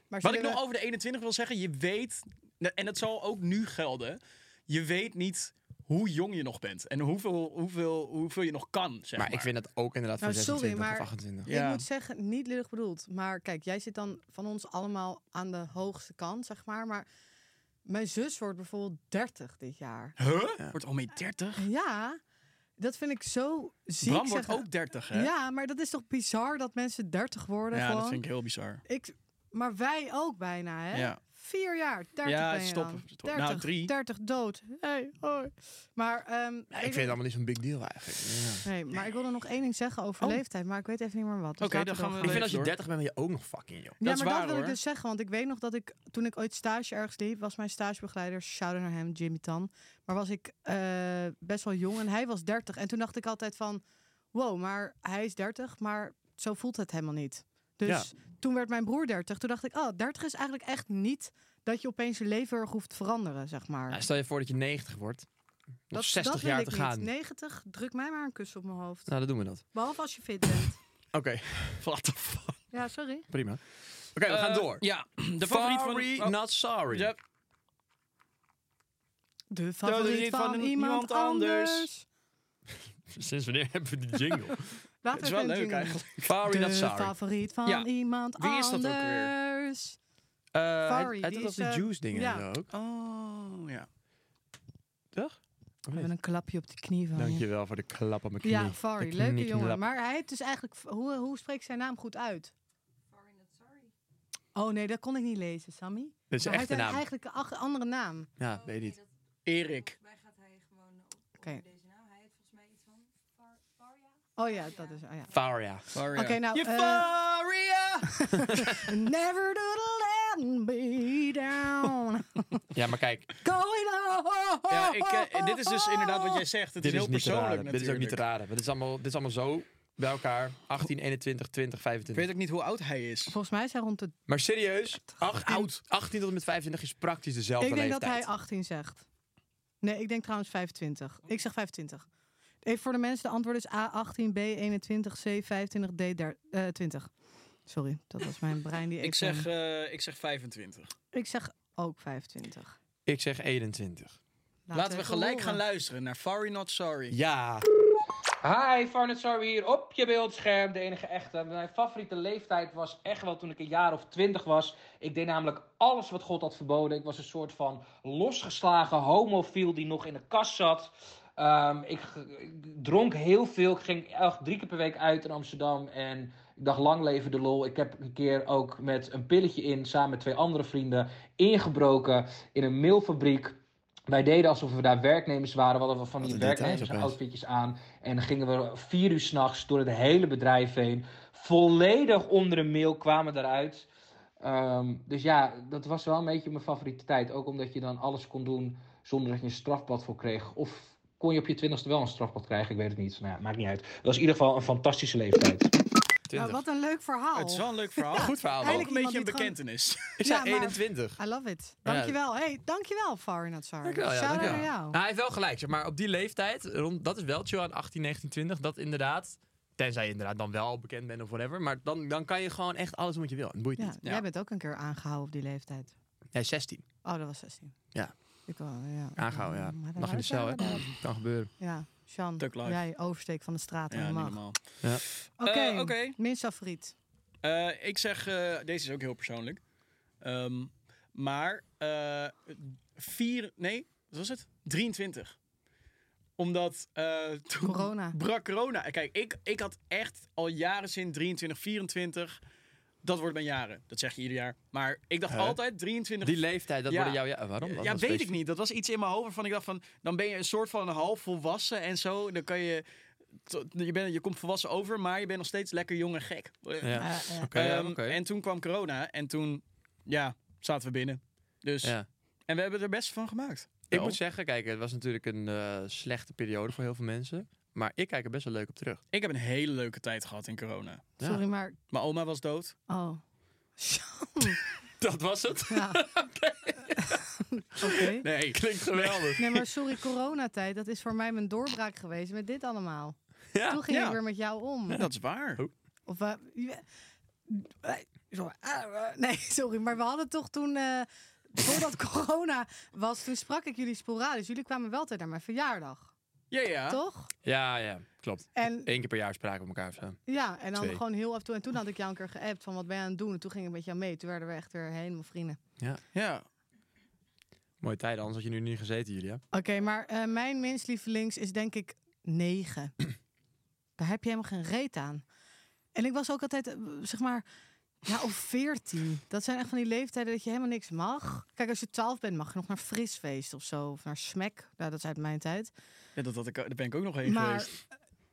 Maar
Wat ik
zullen
nog over de 21 wil zeggen, je weet, Nou, en dat zal ook nu gelden, je weet niet hoe jong je nog bent en hoeveel, hoeveel, hoeveel je nog kan. Zeg maar,
Maar ik vind dat ook inderdaad
Nou,
van
sorry,
26 of
maar-
28.
we-
Ja.
Ik moet zeggen, niet lullig bedoeld. Maar kijk, jij zit dan van ons allemaal aan de hoogste kant, zeg maar. Maar mijn zus wordt bijvoorbeeld 30 dit jaar.
Huh? Wordt al mee 30?
Ja, dat vind ik zo ziek.
Bram wordt
zeg-
ook 30, hè?
Ja, maar dat is toch bizar dat mensen 30 worden
Ja,
gewoon.
dat vind ik heel bizar.
Ik, maar wij ook bijna, hè?
Ja.
Vier jaar, 30
Ja,
ben je
stop,
dan.
stop. Nou,
30,
drie.
30 dood. Hey, hoi. Maar, ehm,
Ja, ik vind het allemaal niet zo'n big deal eigenlijk.
nee, maar ik wilde nog één ding zeggen over
Oh.
leeftijd, maar ik weet even niet meer wat. Dus
Oké,
laten
dan gaan we-
Ik
gewoon-
vind als je
hoor.
30 bent, ben je ook nog fucking jong.
Ja,
dat is
maar
waar,
dat wil
hoor.
ik dus zeggen, want ik weet nog dat ik toen ik ooit stage ergens liep, was mijn stagebegeleider, shout naar hem, Jimmy Tan. Maar was ik eh, best wel jong en hij was 30. En toen dacht ik altijd van, wow, maar hij is 30, maar zo voelt het helemaal niet. Dus
Ja.
toen werd mijn broer 30. Toen dacht ik, oh, 30 is eigenlijk echt niet dat je opeens je leven heel erg hoeft te veranderen, zeg maar.
Nou, stel je voor dat je 90 wordt. Nog
dat,
60
dat wil
jaar
ik
te
niet.
gaan.
90, druk mij maar een kus op mijn hoofd.
Nou, dan doen we dat.
Behalve als je fit bent.
Oké, what the fuck.
Ja, sorry.
Prima. Oké, we gaan
Eh,
door.
Ja, de favoriet van...
Sorry,
oh,
not sorry.
ja,
De favoriet van,
van
iemand
iemand anders.
anders.
Sinds wanneer hebben we die jingle? Eh,
Laat
het is
even een
wel leuk
jingle.
eigenlijk.
sorry, not
de
sorry.
favoriet van
Ja.
iemand
Wie is
anders.
dat ook weer?
Eh, hij-
Sorry,
hij
die
doet dat
is,
de
eh,
juice dingen
ja.
en zo ook.
Oh, ja.
Toch?
We hebben een klapje op de knie van je.
Dankjewel voor de klap op mijn knie.
Ja,
De
Fari,
knie,
leuke
knie,
jongen.
klap.
Maar hij heet dus eigenlijk, hoe, hoe spreekt zijn naam goed uit? Oh nee, dat kon ik niet lezen, Sammy.
Dit is
Maar hij
echt de
heeft
naam.
eigenlijk een ach- andere naam.
Ja, weet niet.
Erik.
Oké. Oh ja, dat is. Oh ja.
Faria.
Oké, nou. eh,
Euphoria!
never do the land be down.
Ja, maar kijk,
Going on.
Ja, ik, eh, dit is dus inderdaad wat jij zegt. Het
dit
is
is,
heel
niet te
persoonlijk
raden. Dit is ook niet te
natuurlijk.
raden. Dit is allemaal, dit is allemaal zo bij elkaar. 18, 21, 20,
Ik weet
25.
ook niet hoe oud hij is.
Volgens mij is hij rond de.
Maar serieus, 18,
Oud.
18 tot en met 25 is praktisch dezelfde
Ik denk dat
leeftijd.
hij 18 zegt. Nee, ik denk trouwens 25. Ik zeg 25. Even voor de mensen, de antwoord is A18, B21, C25, D20. eh, Sorry, dat was mijn brein die
Ik
even-
zeg, eh, ik zeg 25.
ik zeg ook 25.
Ik zeg 21.
Laten we
even
gelijk
horen.
gaan luisteren naar Sorry Not Sorry.
Ja.
Hi, Farnet Sarwe hier op je beeldscherm, de enige echte. Mijn favoriete leeftijd was echt wel toen ik een jaar of twintig was. Ik deed namelijk alles wat God had verboden. Ik was een soort van losgeslagen homofiel die nog in de kast zat. Ehm, ik, ge- ik dronk heel veel. Ik ging elk drie keer per week uit in Amsterdam. En ik dacht, lang leven de lol. Ik heb een keer ook met een pilletje in, samen met twee andere vrienden, ingebroken in een meelfabriek. Wij deden alsof we daar werknemers waren. We hadden van die
een details
werknemers
opeens.
outfitjes aan. En dan gingen we vier uur s'nachts door het hele bedrijf heen. Volledig onder een mail kwamen eruit. Ehm, dus ja, dat was wel een beetje mijn favoriete tijd. Ook omdat je dan alles kon doen zonder dat je een strafblad voor kreeg. Of kon je op je twintigste wel een strafblad krijgen? Ik weet het niet. Nou ja, maakt niet uit. Dat was in ieder geval een fantastische leeftijd.
Nou,
20.
wat een leuk verhaal.
Het is wel een leuk verhaal.
Goed verhaal.
Ook
Eigenlijk
een
Eigenlijk
beetje
iemand
een
die het
bekentenis.
Ik zei
Ja, maar-
21.
I love it.
Ja.
Dankjewel. Hey, dankjewel, Farinat Sar.
Dankjewel, ja,
Shout-out
dankjewel.
naar jou.
Nou,
Ah,
hij heeft wel gelijk, zeg maar. Op die leeftijd, rond, dat is wel chill aan 18, 19, 20. Dat inderdaad, tenzij je inderdaad dan wel bekend bent of whatever. Maar dan, dan kan je gewoon echt alles doen wat je wil. Het boeit
Ja,
niet.
Jij bent ook een keer aangehouden op die leeftijd.
Hij is 16.
Oh, dat was 16.
Ja.
Ik wel, ja.
Aangehouden,
Maar
Ah.
ja.
dat
Lag in de
was
cel, hè.
inderdaad.
Kan gebeuren.
Ja. Sjan,
Tuck life.
jij oversteek van de straat
Ja, niet
helemaal.
normaal.
Oké,
Eh, oké.
minst favoriet.
Eh, ik zeg, eh, deze is ook heel persoonlijk. Ehm, maar eh vier, nee, wat was het? 23. Omdat eh, toen
Corona.
brak corona. En Kijk, ik, ik had echt al jaren sinds 23, 24. Dat wordt mijn jaren. Dat zeg je ieder jaar. Maar ik dacht
Hè?
altijd 23.
Die leeftijd, dat
Ja.
worden jouw... Ja, waarom?
ja,
Wat
weet
was specif-
ik niet. Dat was iets in mijn hoofd waarvan ik dacht van... Dan ben je een soort van half volwassen en zo. En Dan kan je... tot- Je, bent, je komt volwassen over, maar je bent nog steeds lekker jong en gek.
Ja.
Eh, ja.
Oké, ja,
Ehm,
oké.
En toen kwam corona en toen, ja, zaten we binnen. Dus,
Ja.
en we hebben er best van gemaakt.
Ik
Wel.
moet zeggen, kijk, het was natuurlijk een eh, slechte periode voor heel veel mensen. Maar ik kijk er best wel leuk op terug.
Ik heb een hele leuke tijd gehad in corona.
Ja.
Sorry, maar...
Mijn oma was dood.
Oh. Sjan,
Dat was het.
ja. Oké.
Nee,
Klinkt geweldig.
Nee, maar sorry, coronatijd, dat is voor mij mijn doorbraak geweest met dit allemaal.
Ja,
Toen ging
ja.
ik weer met jou om.
dat is waar.
Of, eh, je- eh, sorry, ah, eh, nee, sorry, maar we hadden toch toen, eh, voordat corona was, toen sprak ik jullie sporadisch. Jullie kwamen wel altijd naar mijn verjaardag,
Ja, ja.
toch?
ja, ja klopt.
En
Eén keer per jaar spraken we elkaar of zo.
ja, en dan
Twee.
gewoon heel af en toe. En toen had ik jou een keer geappt van wat ben je aan het doen? En toen ging ik met jou mee. Toen werden we echt weer helemaal vrienden.
Ja.
Mooie tijden, anders had je nu niet gezeten, Julia.
Oké, maar eh, mijn minst lievelings is denk ik negen. Daar heb je helemaal geen reet aan. En ik was ook altijd, eh, zeg maar, ja, of veertien. Dat zijn echt van die leeftijden dat je helemaal niks mag. Kijk, als je twaalf bent, mag je nog naar frisfeest of zo. Of naar smek. Nou, dat is uit mijn tijd.
Ja, dat, had ik, daar ben ik ook nog heen
Maar
geweest.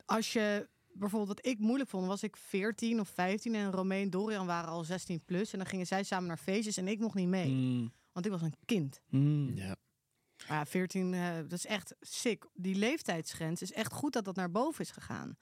als je bijvoorbeeld wat ik moeilijk vond, was ik 14 of 15 en Romein en Dorian waren al 16 plus. En dan gingen zij samen naar feestjes en ik mocht niet mee.
Mm,
Want ik was een kind.
mm.
Ja.
Maar ja, 14, eh, dat is echt sick. Die leeftijdsgrens is echt goed dat dat naar boven is gegaan.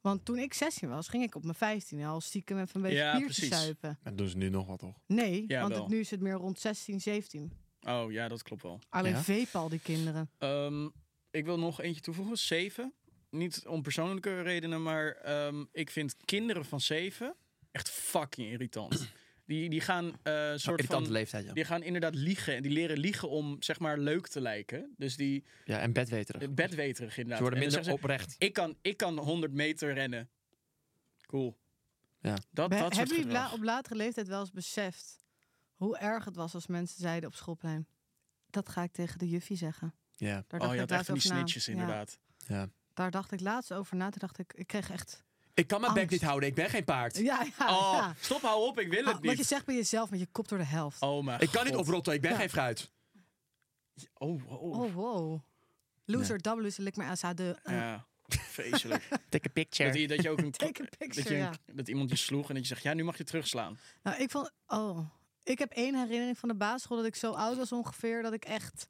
Want toen ik 16 was, ging ik op mijn 15 al stiekem even een beetje
Ja,
biertjes
precies.
zuipen.
Dat doen ze nu nog wat, toch?
Nee,
Ja,
want
wel.
het, nu is het meer rond 16, 17.
Oh, ja, dat klopt wel.
Alleen
Ja?
vepen al die kinderen.
Ehm, ik wil nog eentje toevoegen. Zeven. Niet om persoonlijke redenen, maar ehm, ik vind kinderen van zeven echt fucking irritant. Die, die gaan eh soort
Irritante
van...
leeftijd, ja.
Die gaan inderdaad liegen. En die leren liegen om, zeg maar, leuk te lijken. Dus die
Ja, en bedweterig.
eh, bedweterig
Ze
inderdaad.
worden
En dan
minder
zeggen
oprecht.
ze, ik, kan, ik kan 100 meter rennen. Cool.
Ja.
Dat,
Be-
dat soort
hebben jullie
gedrag.
bla- op latere leeftijd wel eens beseft hoe erg het was als mensen zeiden op schoolplein... Dat ga ik tegen de juffie zeggen.
Ja.
Daar
Oh, je
ik
had echt
laatst
van die
over na.
snitches
Ja,
inderdaad.
daar dacht ik laatst over na. Toen dacht ik, ik kreeg echt...
Ik kan mijn bek
Angst.
niet houden, ik ben geen paard.
Ja, ja,
Oh,
Ah, ja.
stop, hou op, ik wil het
Ah, Wat je
niet.
zegt bij jezelf met je kop door de helft.
Oh, mijn
Ik kan niet
God.
oprotten, ik ben
Ja.
geen fruit.
Oh, oh, oh.
Oh, wow. Loser, double loser, lik maar aan de... eh,
Ja, vreselijk.
Take a picture.
dat, je, dat je ook een...
Take a
dat,
picture,
je een-
ja.
dat iemand je sloeg en dat je zegt, ja, nu mag je terugslaan.
Nou, ik vond... Oh. Ik heb één herinnering van de basisschool dat ik zo oud was ongeveer, dat ik echt...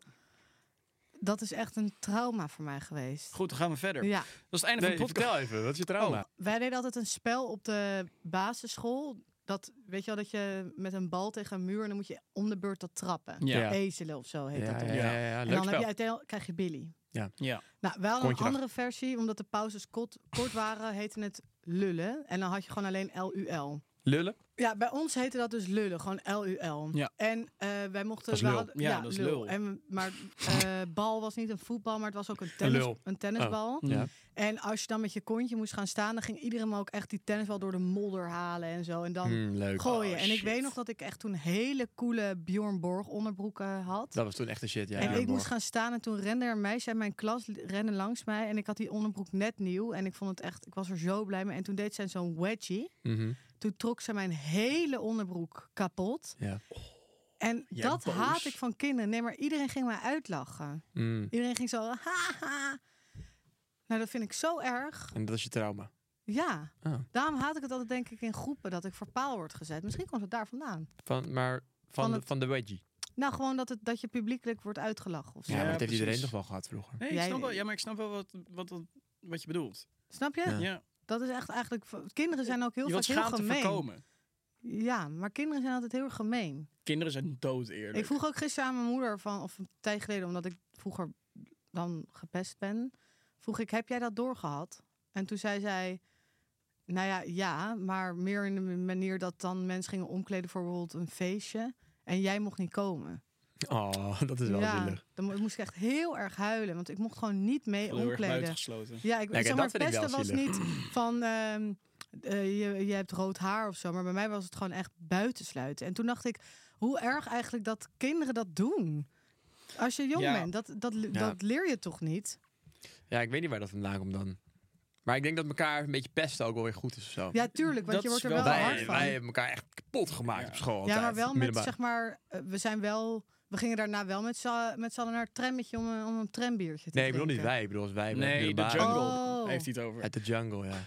Dat is echt een trauma voor mij geweest.
Goed, dan gaan we verder.
Ja. Oh,
Dat is het einde
Nee,
van de podcast.
vertel even, wat is je trauma?
Wij deden altijd een spel op de basisschool. Dat, weet je wel, dat je met een bal tegen een muur en dan moet je om de beurt dat trappen.
Ja.
Ezelen of zo heet dat.
Ja,
dan.
ja, ja, ja,
En
leuk
dan heb
spel.
je uiteindelijk krijg je Billy.
Ja.
Nou, wel een
Kontje dag.
andere versie, omdat de pauzes kot- kort waren, heette het lullen. En dan had je gewoon alleen L-U-L.
Lullen?
Ja, bij ons heette dat dus lullen, gewoon L-U-L.
Ja.
En eh, wij mochten...
Dat is
we
lul.
hadden-
Ja, dat is lul.
En, we- maar eh, bal was niet een voetbal, maar het was ook een, tennis,
lul. Oh.
een tennisbal.
Ja.
En als je dan met je kontje moest gaan staan, dan ging iedereen hem ook echt die tennisbal door de modder halen en zo. En dan
Hmm, leuk.
gooien.
Oh,
en ik
shit.
weet nog dat ik echt toen hele coole Bjorn Borg onderbroeken had.
Dat was toen echt een shit, ja.
en ik
Humor.
moest gaan staan en toen rende er een meisje uit mijn klas, li- rende langs mij. En ik had die onderbroek net nieuw en ik vond het echt, ik was er zo blij mee. En toen deed zij zo'n wedgie.
Mhm.
Toen trok ze mijn hele onderbroek kapot.
Ja.
En
Jij
dat
boos.
haat ik van kinderen. Nee, maar iedereen ging mij uitlachen.
Mm.
Iedereen ging zo, haha. Nou, dat vind ik zo erg.
En dat is je trauma.
Ja,
Ah.
daarom haat ik het altijd denk ik in groepen dat ik voor paal word gezet. Misschien komt het daar vandaan.
Van, maar van,
Van
de,
het-
van de wedgie.
Nou, gewoon dat, het, dat je publiekelijk wordt uitgelachen of zo.
Ja, maar dat heeft
precies.
iedereen toch wel gehad vroeger.
Nee, ik
Jij-
snap wel, ja, maar ik snap wel wat, wat, wat, wat je bedoelt.
Snap je?
Ja.
Ja.
Dat is echt eigenlijk... Kinderen zijn ook heel
je wilt
vaak heel
schaamte
gemeen.
voorkomen.
Ja, maar kinderen zijn altijd heel erg gemeen.
Kinderen zijn dood eerlijk.
Ik vroeg ook gisteren aan mijn moeder, van, of een tijd geleden, omdat ik vroeger dan gepest ben. Vroeg ik, heb jij dat doorgehad? En toen zei zij, nou ja, ja, maar meer in de manier dat dan mensen gingen omkleden voor bijvoorbeeld een feestje. En jij mocht niet komen.
Oh, dat is wel
Ja,
zielig.
dan mo- moest ik echt heel erg huilen, want ik mocht gewoon niet mee
Heel erg
omkleden.
buitengesloten.
Ja, ik,
kijk,
zeg maar,
dat
het
vind ik
beste
wel
was niet van ehm, eh, je, je hebt rood haar of zo, maar bij mij was het gewoon echt buitensluiten. En toen dacht ik, hoe erg eigenlijk dat kinderen dat doen. Als je jong
Ja.
bent, dat, dat, dat leer je toch niet?
Ja, ik weet niet waar dat vandaan komt dan. Maar ik denk dat elkaar een beetje pesten ook wel weer goed is of zo.
Ja, tuurlijk, want
Dat
je wordt
is
er wel
wel
hard
wij,
van.
wij hebben elkaar echt kapot gemaakt op school.
ja,
altijd,
maar wel met,
middelbaar.
zeg maar, eh, we zijn wel, we gingen daarna wel met z'n met z'n allen naar het trammetje om, een- om een trambiertje te
Nee, ik bedoel niet
drinken.
wij. Ik bedoel als wij. bij
Nee, de
middelbare.
jungle
Oh.
heeft hij het over.
Uit de jungle, ja.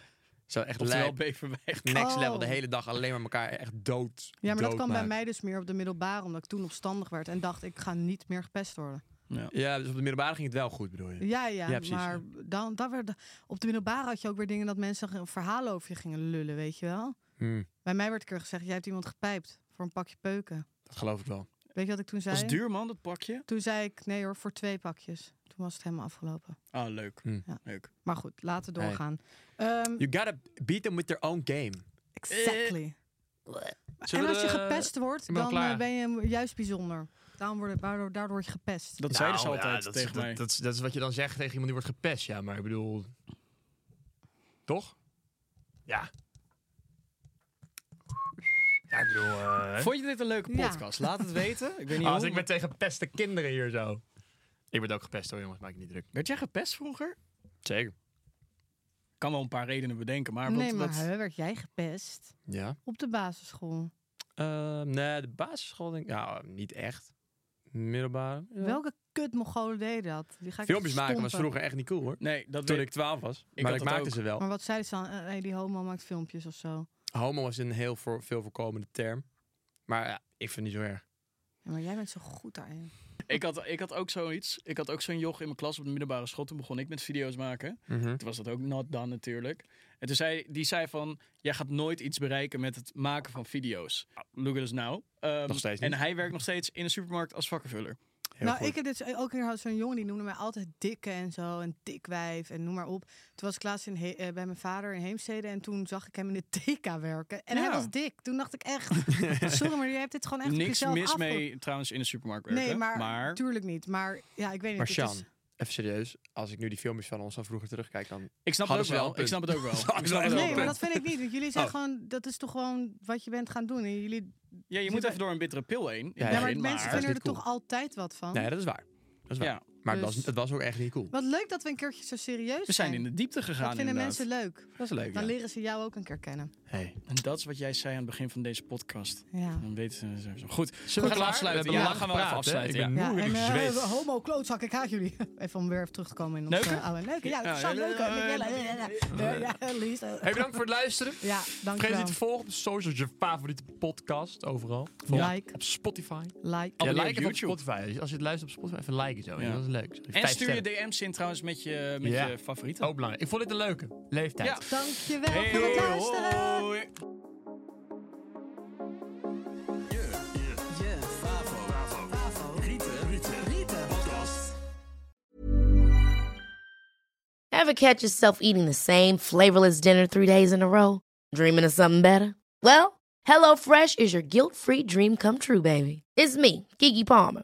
Zo echt
Oftewel
lijp,
Beverwijk.
next
Oh.
level, de hele dag alleen maar elkaar echt dood
Ja, maar dat
dood
kwam bij
maken.
mij dus meer op de middelbare, omdat ik toen opstandig werd en dacht, ik ga niet meer gepest worden.
Ja, dus op de middelbare ging het wel goed, bedoel je?
Ja, ja,
Ja, precies,
maar dan, dan werd, op de middelbare had je ook weer dingen dat mensen ge- verhalen over je gingen lullen, weet je wel.
Hm,
Bij mij werd een keer gezegd, jij hebt iemand gepijpt voor een pakje peuken.
dat geloof ik wel.
Weet je wat ik toen zei?
Dat is duur, man, dat pakje.
Toen zei ik, nee hoor, voor twee pakjes. Toen was het helemaal afgelopen.
Ah, leuk.
Hm.
Ja.
leuk.
Maar goed, laten we
Hey.
doorgaan. Ehm,
You gotta beat them with their own game.
exactly.
Eh, Zullen
en als je
we de-
gepest wordt,
ik ben al
dan eh,
klaar.
ben je juist bijzonder. Daarom word, daardoor, daardoor word je gepest.
Dat zeiden ze
Nou,
altijd
ja, dat is-
tegen
dat,
mij.
Dat, is- dat is wat je dan zegt tegen iemand die wordt gepest. Ja, maar ik bedoel... Toch? Ja. Ja, ik bedoel... eh,
Vond je dit een leuke
Ja.
podcast? Laat het weten. Ik weet niet
als
hoe,
ik ben tegen peste kinderen hier zo. Ik word ook gepest hoor, jongens. Maak je niet druk.
Werd jij gepest vroeger?
Zeker.
Ik kan wel een paar redenen bedenken, maar...
nee,
wat,
maar
wat-
hè, werd jij gepest
Ja.
op de basisschool?
Eh, nee, de basisschool denk ik... Nou, niet echt. Middelbare. ja.
Welke kut Mongolen deed dat? Die ga ik
Filmpjes maken was
stompen.
vroeger echt niet cool hoor.
Nee, dat
Toen
weet-
ik 12 was.
Ik
maar
had
ik
dat
maakte
ook.
ze wel.
Maar wat zeiden ze dan? Eh, hey, die homo maakt filmpjes of zo.
Homo was een heel voor, veel voorkomende term. Maar ja, ik vind het niet zo erg.
Ja, maar jij bent zo goed daarin.
Ik had, ik had ook zoiets. Ik had ook zo'n joch in mijn klas op de middelbare school. Toen begon ik met video's maken.
Mhm.
Toen was dat ook not done natuurlijk. En toen zei die zei van, jij gaat nooit iets bereiken met het maken van video's. Ah, Look at us now. Ehm,
Nog steeds
En
niet.
hij werkt nog steeds in de supermarkt als vakkenvuller.
Heel
nou,
goed.
ik heb dit ook een keer had zo'n jongen die noemde mij altijd dikke en zo. En dikwijf en noem maar op. Toen was ik laatst in He- eh, bij mijn vader in Heemstede. En toen zag ik hem in de TK werken. En hij
Ja.
was dik. Toen dacht ik echt, sorry, maar je hebt dit gewoon echt op
Niks
jezelf
mis
afge-
mee trouwens in de supermarkt werken.
Nee, maar, tuurlijk niet. Maar ja, ik weet
Maar
niet. het
Sjan,
is-
even serieus. Als ik nu die filmpjes van ons van vroeger terugkijk, dan...
ik snap
Hadden
het ook
ze wel
wel.
een
Ik snap het ook wel.
punt.
Ik snap het
Hadden ze
ook
Nee,
wel
maar
wel.
dat vind ik niet. Want jullie zijn
Oh.
gewoon, dat is toch gewoon wat je bent gaan doen. En jullie,
Ja, je moet even door een bittere pil heen. in het
Ja, ja,
ja, maar
begin,
mensen
maar-
vinden
Dat
er
is niet
toch altijd wat van.
Nee, dat is waar. Dat is waar.
Ja.
Maar het,
Dus-
was, het was ook echt niet cool.
Wat leuk dat we een keertje zo serieus
We zijn in de diepte gegaan
Dat vinden
inderdaad.
mensen leuk.
Dat is leuk,
Dan
ja.
leren ze jou ook een keer kennen.
Hey.
En dat is wat jij zei aan het begin van deze podcast.
Ja.
Dan weten ze sowieso. Goed,
Zullen we
gaan
klaar?
afsluiten?
We hebben
Ja,
lang
gaan we wel even
gepraat, hè?
afsluiten.
Ik
ja.
ben
Ja,
moe, ik
en
heb
eh,
gezweet.
homo, klootzak, ik haat jullie. Even om weer even terug te komen in ons
Leuke?
eh, oude leuke. Ja, dat
Ja,
zou
ja,
leuk.
ja,
eh, Miguel,
ja,
eh, ja, ja, ja, ja, Lies, eh.
Hey, bedankt voor het luisteren.
Ja,
Vergeet
dankjewel.
niet te volgen op de socials, je favoriete podcast, overal.
Ja. Like.
Op Spotify.
Like.
Ja,
Abonneer
like
op
even op
YouTube.
Spotify. Als je het luistert op Spotify, even liken zo.
Ja.
Dat is leuk.
En
Vijf
stuur je
sterren.
DM's in trouwens met je, met
Ja.
je favorieten.
Ook belangrijk. Ik vond dit een leuke leeftijd.
Ja.
Dankjewel voor het luisteren.
Oh.
hoi.
Ever catch yourself eating the same flavorless dinner three days in a row? Dreaming of something better? Well, HelloFresh is your guilt free dream come true, baby. It's me, Kiki Palmer.